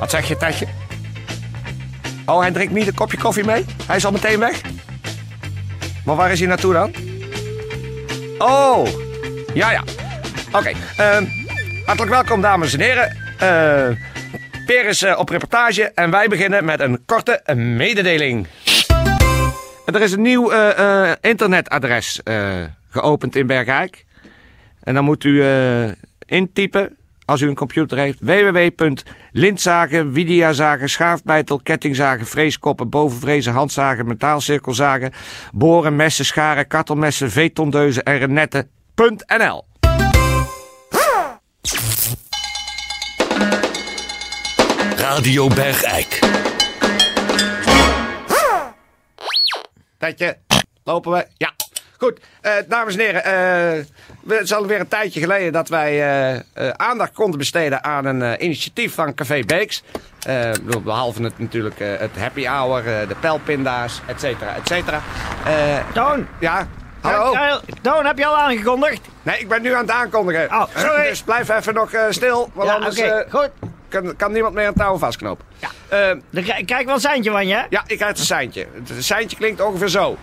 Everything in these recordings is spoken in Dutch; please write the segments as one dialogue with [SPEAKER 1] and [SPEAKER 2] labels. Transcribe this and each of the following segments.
[SPEAKER 1] Wat zeg je, Tetje? Oh, hij drinkt niet een kopje koffie mee? Hij is al meteen weg? Maar waar is hij naartoe dan? Oh, ja, ja. Oké, ehm, hartelijk welkom, dames en heren. Eh, Peer is eh, op reportage en wij beginnen met een korte eh, mededeling. Er is een nieuw eh, eh, internetadres eh, geopend in Bergijk. En dan moet u eh, intypen, als u een computer heeft, www.lintzagen, widiazagen, schaafbijtel, kettingzagen, vreeskoppen, bovenvrezen, handzagen, metaalcirkelzagen, boren, messen, scharen, kartelmessen, veetondeuzen en renetten.nl.
[SPEAKER 2] Radio Bergijk.
[SPEAKER 1] Tijdje, lopen we? Ja. Goed, eh, dames en heren, eh, we- het is alweer een tijdje geleden dat wij eh, eh, aandacht konden besteden aan een eh, initiatief van Café Beeks. Eh, ik bedoel, behalve het, natuurlijk eh, het happy hour, eh, de pijlpinda's, et cetera, et cetera. Eh,
[SPEAKER 3] Toon,
[SPEAKER 1] ja, hallo?
[SPEAKER 3] eh, Toon, heb je al aangekondigd?
[SPEAKER 1] Nee, ik ben nu aan het aankondigen.
[SPEAKER 3] Oh, sorry.
[SPEAKER 1] Dus blijf even nog eh, stil, want
[SPEAKER 3] Ja, oké,
[SPEAKER 1] anders eh,
[SPEAKER 3] goed.
[SPEAKER 1] kan, kan niemand meer een touw vastknopen.
[SPEAKER 3] Ja.
[SPEAKER 1] Eh,
[SPEAKER 3] Dan krijg krijg ik wel een seintje van je, hè?
[SPEAKER 1] ja, ik krijg het seintje. Het seintje klinkt ongeveer zo.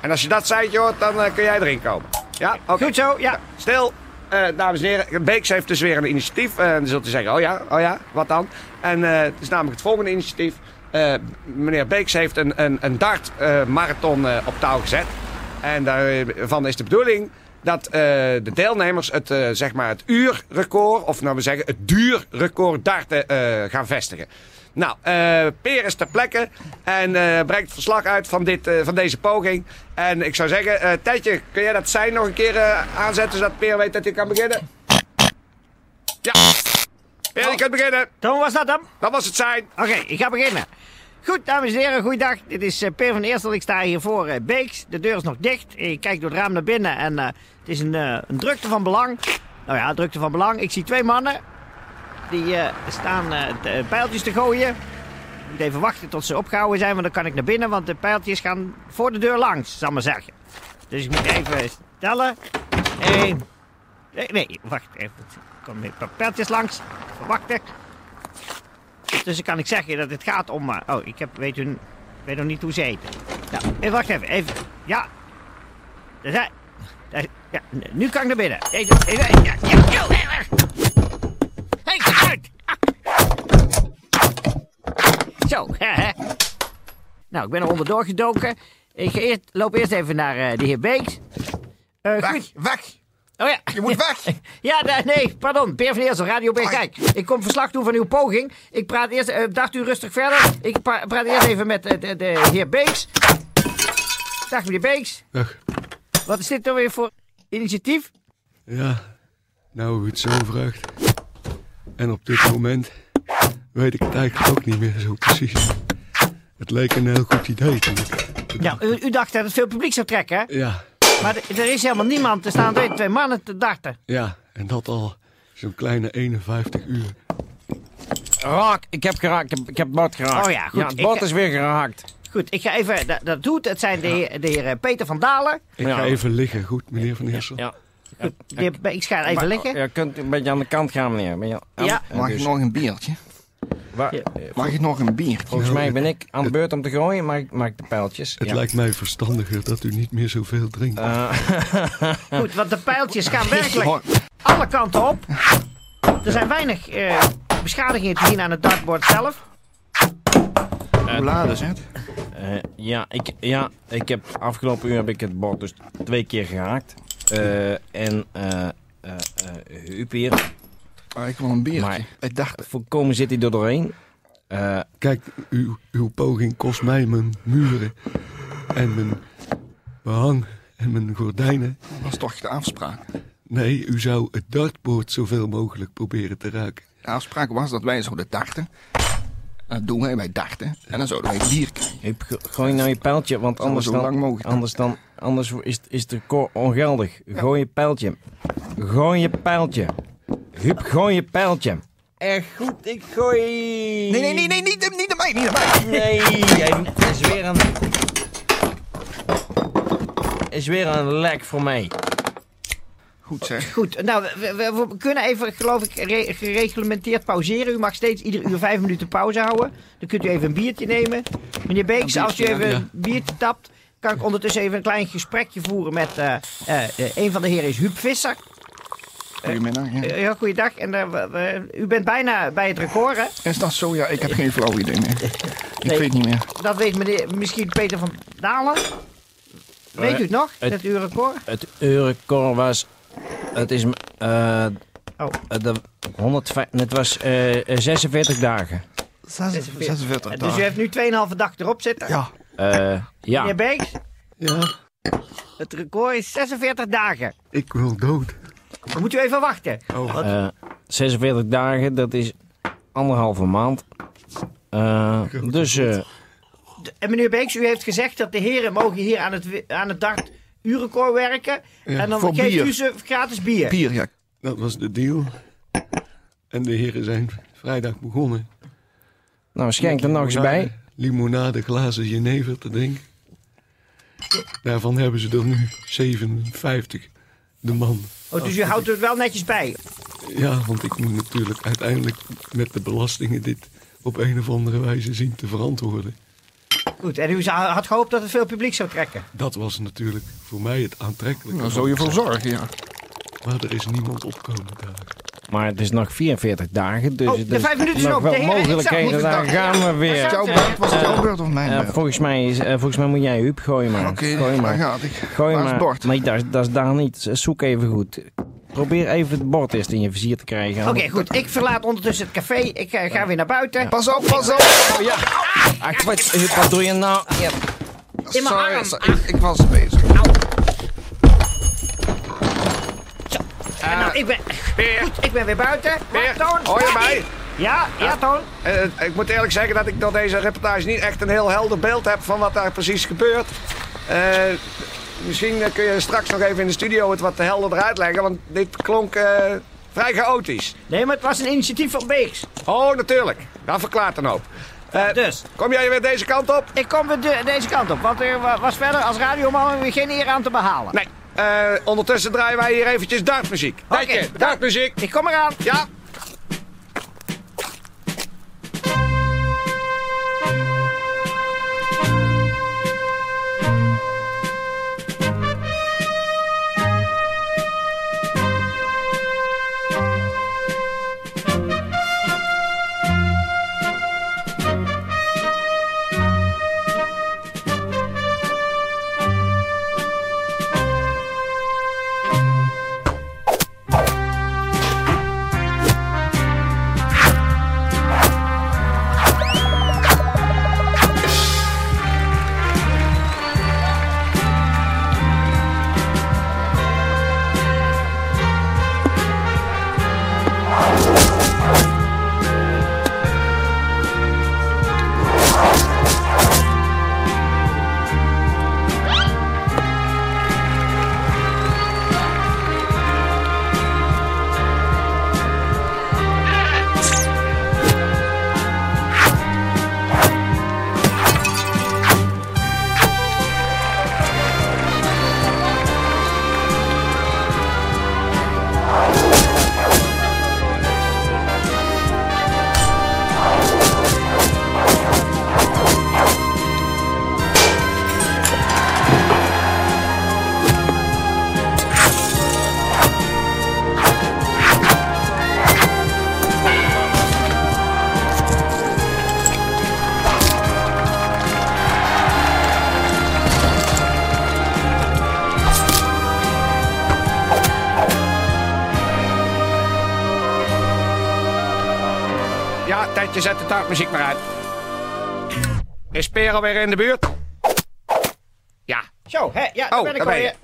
[SPEAKER 1] En als je dat seintje hoort, dan eh, kun jij erin komen. Ja, oké.
[SPEAKER 3] Goed zo, ja.
[SPEAKER 1] Stil, eh, dames en heren. Beeks heeft dus weer een initiatief. En dan zult u zeggen, oh ja, oh ja, wat dan? En eh, het is namelijk het volgende initiatief. Eh, meneer Beeks heeft een, een, een dartmarathon eh, op touw gezet. En daarvan is de bedoeling dat eh, de deelnemers het, eh, zeg maar het uurrecord, of nou we zeggen het duurrecord darten eh, gaan vestigen. Nou, eh Peer is ter plekke en eh, brengt verslag uit van, dit, eh, van deze poging. En ik zou zeggen, eh Tijdje, kun jij dat sein nog een keer eh, aanzetten zodat Peer weet dat hij kan beginnen? Ja, Peer, je kunt beginnen.
[SPEAKER 3] Toon, was dat hem?
[SPEAKER 1] Dat was het sein.
[SPEAKER 3] Oké, ik ga beginnen. Goed, dames en heren, goeiedag. Dit is eh, Peer van Eerstel. Ik sta hier voor eh, Beeks. De deur is nog dicht. Ik kijk door het raam naar binnen en eh, het is een, eh, een drukte van belang. Nou ja, drukte van belang. Ik zie twee mannen. Die eh, staan eh, de- eh, pijltjes te gooien. Ik moet even wachten tot ze opgehouden zijn, want dan kan ik naar binnen. Want de pijltjes gaan voor de deur langs, zal ik maar zeggen. Dus ik moet even tellen. Eén. Nee, nee, wacht even. Er komen een paar pijltjes langs. Even wachten. Dus dan kan ik zeggen dat het gaat om... eh, oh, ik heb, weet, u, weet nog niet hoe ze heten. Nou, even, wacht even, even. Ja. Daar zijn... daar- ja, nu kan ik naar binnen. Deze, deze, ja, ja, ja, ja. Hey, ga uit! Zo, hè. Nou, ik ben er onderdoor gedoken. Ik ga eerst, loop eerst even naar eh, de heer Beeks. Eh, goed.
[SPEAKER 4] Weg, weg.
[SPEAKER 3] Oh ja.
[SPEAKER 4] Je moet weg.
[SPEAKER 3] Ja, da- nee, pardon. Peer van Eersel, Radio B. Kijk, ik kom verslag doen van uw poging. Ik praat eerst... eh, dacht u rustig verder? Ik pra- praat eerst even met eh, de, de heer Beeks. Dag, meneer Beeks.
[SPEAKER 5] Dag.
[SPEAKER 3] Wat is dit nou weer voor initiatief?
[SPEAKER 5] Ja, nou hoe het zo vraagt. En op dit moment weet ik het eigenlijk ook niet meer zo precies. Het leek een heel goed idee toen ik...
[SPEAKER 3] Nou, u, u dacht dat het veel publiek zou trekken, hè?
[SPEAKER 5] Ja,
[SPEAKER 3] Maar d- er is helemaal niemand. Er staan twee, twee mannen te darten.
[SPEAKER 5] ja, en dat al zo'n kleine 51 uur.
[SPEAKER 6] Raak, ik heb geraakt, ik heb, ik heb het bord geraakt.
[SPEAKER 3] Oh ja, goed,
[SPEAKER 6] het
[SPEAKER 3] ik
[SPEAKER 6] bord
[SPEAKER 3] ga-
[SPEAKER 6] is weer geraakt.
[SPEAKER 3] Goed, ik ga even... Dat, dat doet, het zijn de, heer- de heer eh, Peter van Dalen.
[SPEAKER 5] Ik
[SPEAKER 6] Ja.
[SPEAKER 5] ga even liggen, goed meneer Van Eersel?
[SPEAKER 6] Ja.
[SPEAKER 3] De heer Beeks gaat even
[SPEAKER 6] Maar- oh,
[SPEAKER 3] liggen.
[SPEAKER 6] Ja, kunt u een beetje aan de kant gaan, meneer. Ben je-
[SPEAKER 3] Ja.
[SPEAKER 4] Mag ik nog een biertje?
[SPEAKER 6] Waar-
[SPEAKER 3] Ja.
[SPEAKER 4] Mag ik nog een biertje?
[SPEAKER 6] Volgens mij ben ik aan de beurt om te gooien, maar ik maak de pijltjes.
[SPEAKER 5] Het
[SPEAKER 6] Ja. Eh.
[SPEAKER 5] lijkt mij verstandiger dat u niet meer zoveel drinkt.
[SPEAKER 3] Goed, want de pijltjes gaan werkelijk...
[SPEAKER 4] Hoor,
[SPEAKER 3] alle kanten op. Er zijn weinig eh, beschadigingen te zien aan het dartboard zelf.
[SPEAKER 4] Hoe laat is het?
[SPEAKER 6] Eh, ja, ik, ja, ik heb afgelopen uur heb ik het bord dus twee keer geraakt. Eh, en eh eh eh Huub hier,
[SPEAKER 4] Ah, ik wil een biertje.
[SPEAKER 6] Maar-
[SPEAKER 4] Ik dacht,
[SPEAKER 6] volkomen zit hij er doorheen. Eh,
[SPEAKER 5] Kijk, uw, uw poging kost mij mijn muren en mijn behang en mijn gordijnen.
[SPEAKER 4] dat was toch de afspraak?
[SPEAKER 5] Nee, u zou het dartboard zoveel mogelijk proberen te raken.
[SPEAKER 4] De afspraak was dat wij zouden darten. Dat doen wij bij darten. En dan zouden wij het bier krijgen.
[SPEAKER 6] Hup, go- Gooi nou je pijltje, want
[SPEAKER 4] Zal maar
[SPEAKER 6] anders
[SPEAKER 4] zo
[SPEAKER 6] dan,
[SPEAKER 4] lang mogelijk.
[SPEAKER 6] anders dan anders is, is het record ongeldig. Gooi je pijltje. Gooi je pijltje. Hup, gooi je pijltje. Echt goed, ik gooi.
[SPEAKER 4] Nee, nee, nee, nee, niet, niet aan mij, niet aan mij.
[SPEAKER 6] Nee, hij is weer een. Is weer een lek voor mij.
[SPEAKER 4] Goed zeg.
[SPEAKER 3] Goed, nou, we, we- we kunnen even, geloof ik, re- gereglementeerd pauzeren. U mag steeds ieder uur vijf minuten pauze houden. Dan kunt u even een biertje nemen. Meneer Beeks,
[SPEAKER 4] Een
[SPEAKER 3] als u
[SPEAKER 4] biertje,
[SPEAKER 3] even
[SPEAKER 4] ja.
[SPEAKER 3] een biertje tapt, kan ik ondertussen even een klein gesprekje voeren met... eh, eh, eh, een van de heren is Huub Visser.
[SPEAKER 4] Goedemiddag. ja.
[SPEAKER 3] Eh, ja, goeiedag. En eh, we- we- u bent bijna bij het record, hè?
[SPEAKER 4] Is dat zo? Ja, ik heb geen flauw idee meer.
[SPEAKER 3] Nee.
[SPEAKER 4] Ik weet niet meer.
[SPEAKER 3] Dat weet meneer, misschien Peter van Dalen. Weet u het nog,
[SPEAKER 6] het-
[SPEAKER 3] dat uw record?
[SPEAKER 6] Het eurocore was. Het is. eh
[SPEAKER 3] Oh.
[SPEAKER 6] de 105, het was eh, 46 dagen.
[SPEAKER 4] 46
[SPEAKER 3] Dus u heeft nu 2,5 dag erop zitten.
[SPEAKER 4] Ja.
[SPEAKER 6] Eh, ja.
[SPEAKER 3] Meneer Beeks,
[SPEAKER 5] Ja,
[SPEAKER 3] het record is 46 dagen.
[SPEAKER 5] ik wil dood.
[SPEAKER 3] Dan moet u even wachten.
[SPEAKER 4] Oh.
[SPEAKER 6] Eh, 46 dagen, dat is anderhalve maand. Eh, dus eh,
[SPEAKER 3] En meneer Beeks, u heeft gezegd dat de heren mogen hier aan het, wi- aan het dart urenkoor werken. en dan
[SPEAKER 4] voor
[SPEAKER 3] geeft
[SPEAKER 4] bier.
[SPEAKER 3] u ze gratis bier.
[SPEAKER 4] Bier, ja.
[SPEAKER 5] Dat was de deal. En de heren zijn vrijdag begonnen.
[SPEAKER 6] nou, schenk er nog eens bij.
[SPEAKER 5] Limonade, glazen jenever te drinken. Daarvan hebben ze er nu 57. De man.
[SPEAKER 3] Oh, dus u houdt het wel netjes bij.
[SPEAKER 5] Ja, want ik moet natuurlijk uiteindelijk met de belastingen dit op een of andere wijze zien te verantwoorden.
[SPEAKER 3] Goed, en u zou- had gehoopt dat het veel publiek zou trekken.
[SPEAKER 5] Dat was natuurlijk voor mij het aantrekkelijke.
[SPEAKER 4] Daar zou Nou, je voor zorgen, ja.
[SPEAKER 5] Maar er is niemand opkomen daar.
[SPEAKER 6] Maar het is nog 44 dagen, dus
[SPEAKER 3] Oh,
[SPEAKER 6] er
[SPEAKER 3] de vijf minuten is
[SPEAKER 6] nog
[SPEAKER 3] op.
[SPEAKER 6] wel
[SPEAKER 3] De heren,
[SPEAKER 6] mogelijkheden.
[SPEAKER 3] ik zou-
[SPEAKER 6] Daar gaan we
[SPEAKER 3] Ja.
[SPEAKER 6] weer.
[SPEAKER 4] Jouw beurt, was het jouw beurt of mijn
[SPEAKER 6] Eh,
[SPEAKER 4] beurt?
[SPEAKER 6] volgens, mij is, eh, volgens mij moet jij Huub gooien maar.
[SPEAKER 4] Oké,
[SPEAKER 6] gooi
[SPEAKER 4] daar
[SPEAKER 6] maar.
[SPEAKER 4] gaat ik.
[SPEAKER 6] Gooi
[SPEAKER 4] Waar is
[SPEAKER 6] maar.
[SPEAKER 4] het bord?
[SPEAKER 6] Nee, dat, is- dat is daar niet. Zoek even goed. Probeer even het bord eerst in je vizier te krijgen.
[SPEAKER 3] Oké, goed. Ik verlaat ondertussen het café. Ik eh, ga weer naar buiten.
[SPEAKER 4] Pas op, pas op!
[SPEAKER 6] Oh ja. Ah, kwets. Huub, wat doe je nou? Ja.
[SPEAKER 3] In mijn
[SPEAKER 4] Sorry,
[SPEAKER 3] arm.
[SPEAKER 4] sorry, ik, ik was bezig.
[SPEAKER 3] En nou, ik ben... Goed, ik ben weer buiten.
[SPEAKER 1] Peer,
[SPEAKER 3] Maar Toon,
[SPEAKER 1] hoor je
[SPEAKER 3] ja,
[SPEAKER 1] mij?
[SPEAKER 3] ik- Ja, ja, Toon.
[SPEAKER 1] Eh, eh, ik moet eerlijk zeggen dat ik door deze reportage niet echt een heel helder beeld heb van wat daar precies gebeurt. Eh, misschien eh, kun je straks nog even in de studio het wat helderder uitleggen, want dit klonk eh, vrij chaotisch.
[SPEAKER 3] Nee, maar het was een initiatief van Beeks.
[SPEAKER 1] Oh, natuurlijk. Dat verklaart een hoop. Eh,
[SPEAKER 3] Dus,
[SPEAKER 1] Kom jij weer deze kant op?
[SPEAKER 3] ik kom weer de- deze kant op. Want er wa- was verder als radioman weer geen eer aan te behalen.
[SPEAKER 1] Nee. Eh, ondertussen draaien wij hier eventjes dartmuziek.
[SPEAKER 3] Oké,
[SPEAKER 1] Tijdje,
[SPEAKER 3] bedankt.
[SPEAKER 1] dartmuziek.
[SPEAKER 3] Ik kom eraan.
[SPEAKER 1] Ja. Ja, Tijdje, zet de dartmuziek maar uit. Is Peer alweer in de buurt? Ja.
[SPEAKER 3] Zo, hè, ja, daar
[SPEAKER 1] Oh,
[SPEAKER 3] ben ik
[SPEAKER 1] daar ben je.
[SPEAKER 3] alweer.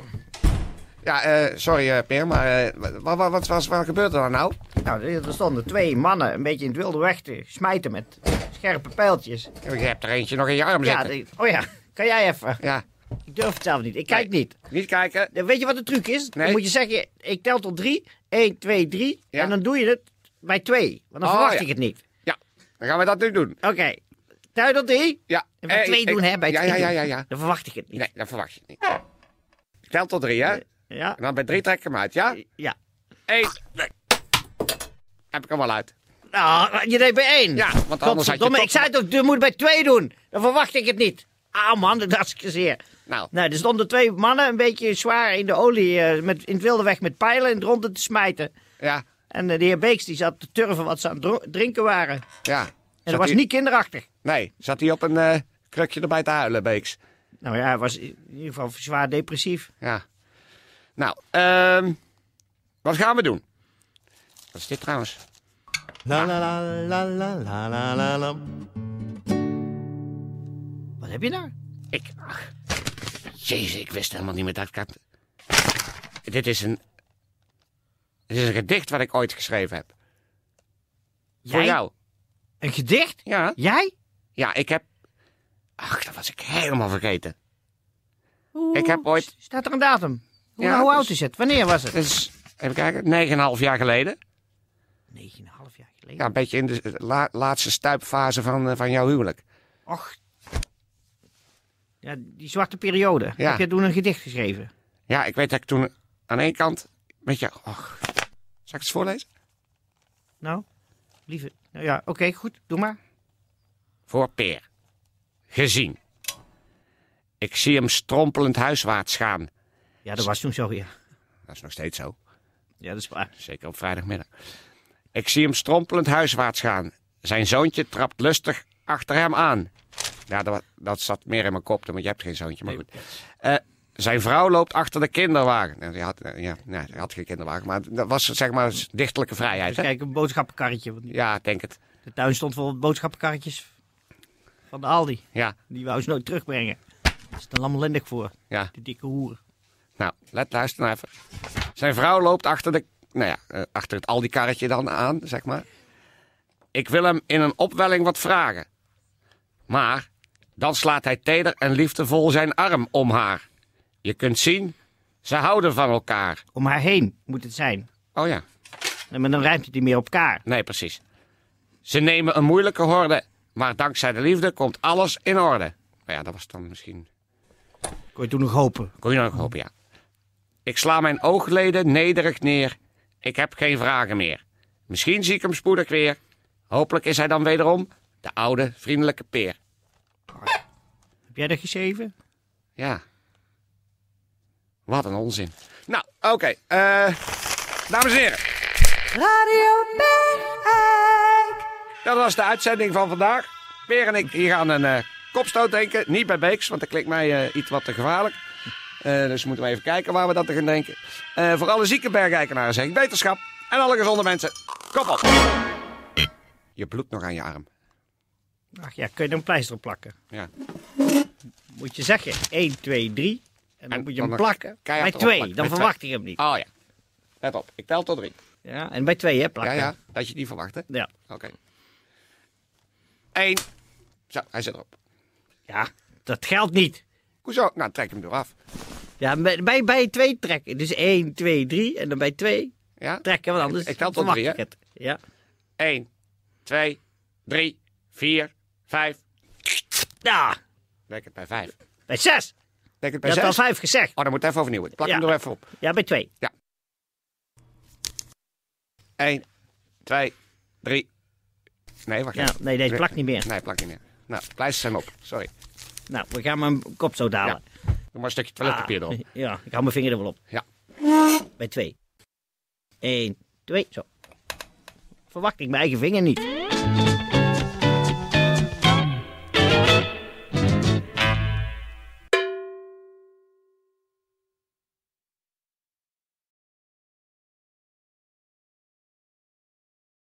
[SPEAKER 1] Ja, eh, sorry eh, Peer, maar eh, wat, wat, wat, wat, wat gebeurt er dan nou?
[SPEAKER 3] Nou, er er stonden twee mannen een beetje in het wilde weg te smijten met scherpe pijltjes.
[SPEAKER 1] Je hebt er eentje nog in je arm
[SPEAKER 3] Ja,
[SPEAKER 1] zitten.
[SPEAKER 3] die- oh ja, kan jij even?
[SPEAKER 1] Ja,
[SPEAKER 3] Ik durf het zelf niet. Ik kijk
[SPEAKER 1] Nee.
[SPEAKER 3] niet.
[SPEAKER 1] niet kijken.
[SPEAKER 3] Dan Weet je wat de truc is? Dan
[SPEAKER 1] Nee.
[SPEAKER 3] moet je zeggen, ik tel tot drie. 1, 2, 3.
[SPEAKER 1] Ja.
[SPEAKER 3] En dan doe je het bij twee. Want dan
[SPEAKER 1] Oh,
[SPEAKER 3] verwacht
[SPEAKER 1] ja.
[SPEAKER 3] ik het niet.
[SPEAKER 1] Ja, dan gaan we dat nu doen.
[SPEAKER 3] Oké. Tel tot drie.
[SPEAKER 1] Ja.
[SPEAKER 3] En bij
[SPEAKER 1] eh,
[SPEAKER 3] twee
[SPEAKER 1] ik-
[SPEAKER 3] doen,
[SPEAKER 1] ik-
[SPEAKER 3] hè? Bij
[SPEAKER 1] ja,
[SPEAKER 3] twee
[SPEAKER 1] ja, ja,
[SPEAKER 3] doen.
[SPEAKER 1] ja, ja.
[SPEAKER 3] Dan verwacht ik het niet.
[SPEAKER 1] Nee, dat verwacht je niet. Ik tel tot drie, hè? En
[SPEAKER 3] Ja.
[SPEAKER 1] dan bij drie trek ik hem uit, ja?
[SPEAKER 3] Ja.
[SPEAKER 1] Eén. Nee. Heb ik hem al uit.
[SPEAKER 3] Nou, je deed bij één.
[SPEAKER 1] Ja, want anders had je
[SPEAKER 3] Godverdomme,
[SPEAKER 1] toch-
[SPEAKER 3] Ik zei toch, je moet bij twee doen. Dan verwacht ik het niet. Ah man, dat is gezeer.
[SPEAKER 1] Nou.
[SPEAKER 3] Nou, er stonden twee mannen een beetje zwaar in de olie, eh, met, in het wilde weg met pijlen en ronden te smijten.
[SPEAKER 1] Ja,
[SPEAKER 3] En eh, de heer Beeks die zat te turven wat ze aan het dro- drinken waren. En
[SPEAKER 1] ja.
[SPEAKER 3] dat was
[SPEAKER 1] hij-
[SPEAKER 3] niet kinderachtig.
[SPEAKER 1] Nee, zat hij op een eh, krukje erbij te huilen, Beeks.
[SPEAKER 3] Nou ja, hij was in ieder geval zwaar depressief.
[SPEAKER 1] Ja. Nou, ehm, wat gaan we doen? Wat is dit trouwens?
[SPEAKER 6] La la la la la la la la la.
[SPEAKER 3] Wat heb je nou?
[SPEAKER 1] Ik. Ach, jezus, ik wist helemaal niet meer dat ik had. Dit is een. Dit is een gedicht wat ik ooit geschreven heb. Voor
[SPEAKER 3] Jij?
[SPEAKER 1] jou.
[SPEAKER 3] Een gedicht?
[SPEAKER 1] Ja.
[SPEAKER 3] Jij?
[SPEAKER 1] Ja, ik heb. Ach, dat was ik helemaal vergeten.
[SPEAKER 3] Hoe-
[SPEAKER 1] Ik heb ooit-
[SPEAKER 3] Staat er een datum? Hoe, nou,
[SPEAKER 1] Ja,
[SPEAKER 3] hoe
[SPEAKER 1] dus-
[SPEAKER 3] oud is het? Wanneer was het?
[SPEAKER 1] Dat is. Even kijken, negen en een half jaar geleden.
[SPEAKER 3] 9,5 jaar geleden.
[SPEAKER 1] Ja, een beetje in de eh, la- laatste stuipfase van, eh, van jouw huwelijk.
[SPEAKER 3] Och. Ja, die zwarte periode.
[SPEAKER 1] Ja.
[SPEAKER 3] Heb je toen een gedicht geschreven?
[SPEAKER 1] Ja, ik weet dat ik toen aan één kant. Met jou. Och. Zal ik het eens voorlezen?
[SPEAKER 3] Nou, lieve. Nou ja, oké, goed. Doe maar.
[SPEAKER 1] voor Peer. Gezien. Ik zie hem strompelend huiswaarts gaan.
[SPEAKER 3] Ja, dat was toen zo, ja.
[SPEAKER 1] Dat is nog steeds zo,
[SPEAKER 3] Ja, dat is waar.
[SPEAKER 1] zeker op vrijdagmiddag. Ik zie hem strompelend huiswaarts gaan. Zijn zoontje trapt lustig achter hem aan. Ja, dat, dat zat meer in mijn kop, want je hebt geen zoontje, maar goed. Eh, zijn vrouw loopt achter de kinderwagen. Nou, die had, ja, nee, die had geen kinderwagen, maar dat was zeg maar dichtelijke vrijheid.
[SPEAKER 3] Dus
[SPEAKER 1] Hè?
[SPEAKER 3] kijk, een boodschappenkarretje. Want
[SPEAKER 1] Ja, ik denk het.
[SPEAKER 3] de tuin stond vol boodschappenkarretjes van de Aldi.
[SPEAKER 1] Ja,
[SPEAKER 3] Die wou ze nooit terugbrengen. Dat is dan lamlendig voor,
[SPEAKER 1] ja.
[SPEAKER 3] die dikke hoer.
[SPEAKER 1] Nou, let, luister nou even. Zijn vrouw loopt achter, de, nou ja, eh, achter het Aldi-karretje dan aan, zeg maar. Ik wil hem in een opwelling wat vragen. Maar dan slaat hij teder en liefdevol zijn arm om haar. Je kunt zien, ze houden van elkaar.
[SPEAKER 3] Om haar heen moet het zijn.
[SPEAKER 1] Oh ja,
[SPEAKER 3] En maar dan rijmt het niet meer op elkaar.
[SPEAKER 1] nee, precies. Ze nemen een moeilijke horde, maar dankzij de liefde komt alles in orde. Nou ja, dat was dan misschien
[SPEAKER 3] Kon je toen nog hopen.
[SPEAKER 1] Kon je nog hopen, ja. Ik sla mijn oogleden nederig neer. Ik heb geen vragen meer. Misschien zie ik hem spoedig weer. Hopelijk is hij dan wederom de oude, vriendelijke peer.
[SPEAKER 3] Heb jij dat geschreven?
[SPEAKER 1] Ja. Wat een onzin. Nou, oké. eh, dames en heren. Dat was de uitzending van vandaag. Peer en ik hier gaan een eh, kopstoot drinken. Niet bij Beeks, want dat klinkt mij eh, iets wat te gevaarlijk. Eh, dus moeten we even kijken waar we dat te gaan drinken. Eh, voor alle zieke bergijkenaren zeg ik beterschap. En alle gezonde mensen, kop op. Je bloedt nog aan je arm.
[SPEAKER 3] Ach ja, kun je er een pleister op plakken?
[SPEAKER 1] Ja.
[SPEAKER 3] Moet je zeggen 1, 2, 3. En dan
[SPEAKER 1] En
[SPEAKER 3] moet je hem
[SPEAKER 1] dan
[SPEAKER 3] plakken. Bij
[SPEAKER 1] keihard erop
[SPEAKER 3] 2,
[SPEAKER 1] plakken.
[SPEAKER 3] dan
[SPEAKER 1] Bij
[SPEAKER 3] verwacht
[SPEAKER 1] twee.
[SPEAKER 3] ik hem niet.
[SPEAKER 1] Oh ja. Let op, ik tel tot drie.
[SPEAKER 3] Ja, en bij twee, hè,
[SPEAKER 1] Ja,
[SPEAKER 3] plakken.
[SPEAKER 1] ja, dat je die verwacht, hè?
[SPEAKER 3] Ja.
[SPEAKER 1] Oké. Eén. Zo, hij zit erop.
[SPEAKER 3] Ja, dat geldt niet.
[SPEAKER 1] Hoezo? Nou, trek hem eraf. af.
[SPEAKER 3] Ja, bij, bij, bij twee trekken. Dus 1, 2, 3. En dan bij twee
[SPEAKER 1] Ja?
[SPEAKER 3] trekken, want anders
[SPEAKER 1] Ik tel tot
[SPEAKER 3] verwacht
[SPEAKER 1] drie, hè?
[SPEAKER 3] ik het. Ja.
[SPEAKER 1] 1, 2, 3, 4, 5.
[SPEAKER 3] ja,
[SPEAKER 1] Denk het bij 5.
[SPEAKER 3] bij zes.
[SPEAKER 1] Denk het
[SPEAKER 3] Je
[SPEAKER 1] bij
[SPEAKER 3] had wel
[SPEAKER 1] 6.
[SPEAKER 3] vijf gezegd.
[SPEAKER 1] Oh, dan moet even overnieuw. Ik Plak
[SPEAKER 3] Ja.
[SPEAKER 1] hem er even op.
[SPEAKER 3] Ja, bij twee.
[SPEAKER 1] 1, 2, 3. Nee, wacht
[SPEAKER 3] Ja,
[SPEAKER 1] even.
[SPEAKER 3] nee, deze plakt niet meer.
[SPEAKER 1] Nee, plak niet meer. Nou, pleisters zijn op. Sorry.
[SPEAKER 3] Nou, we gaan mijn kop zo dalen.
[SPEAKER 1] Doe maar een stukje
[SPEAKER 3] Ah.
[SPEAKER 1] toiletpapier erop.
[SPEAKER 3] Ja, ik hou mijn vinger er wel op.
[SPEAKER 1] Ja.
[SPEAKER 3] Bij twee. 1, 2, zo. Verwacht ik mijn eigen vinger niet.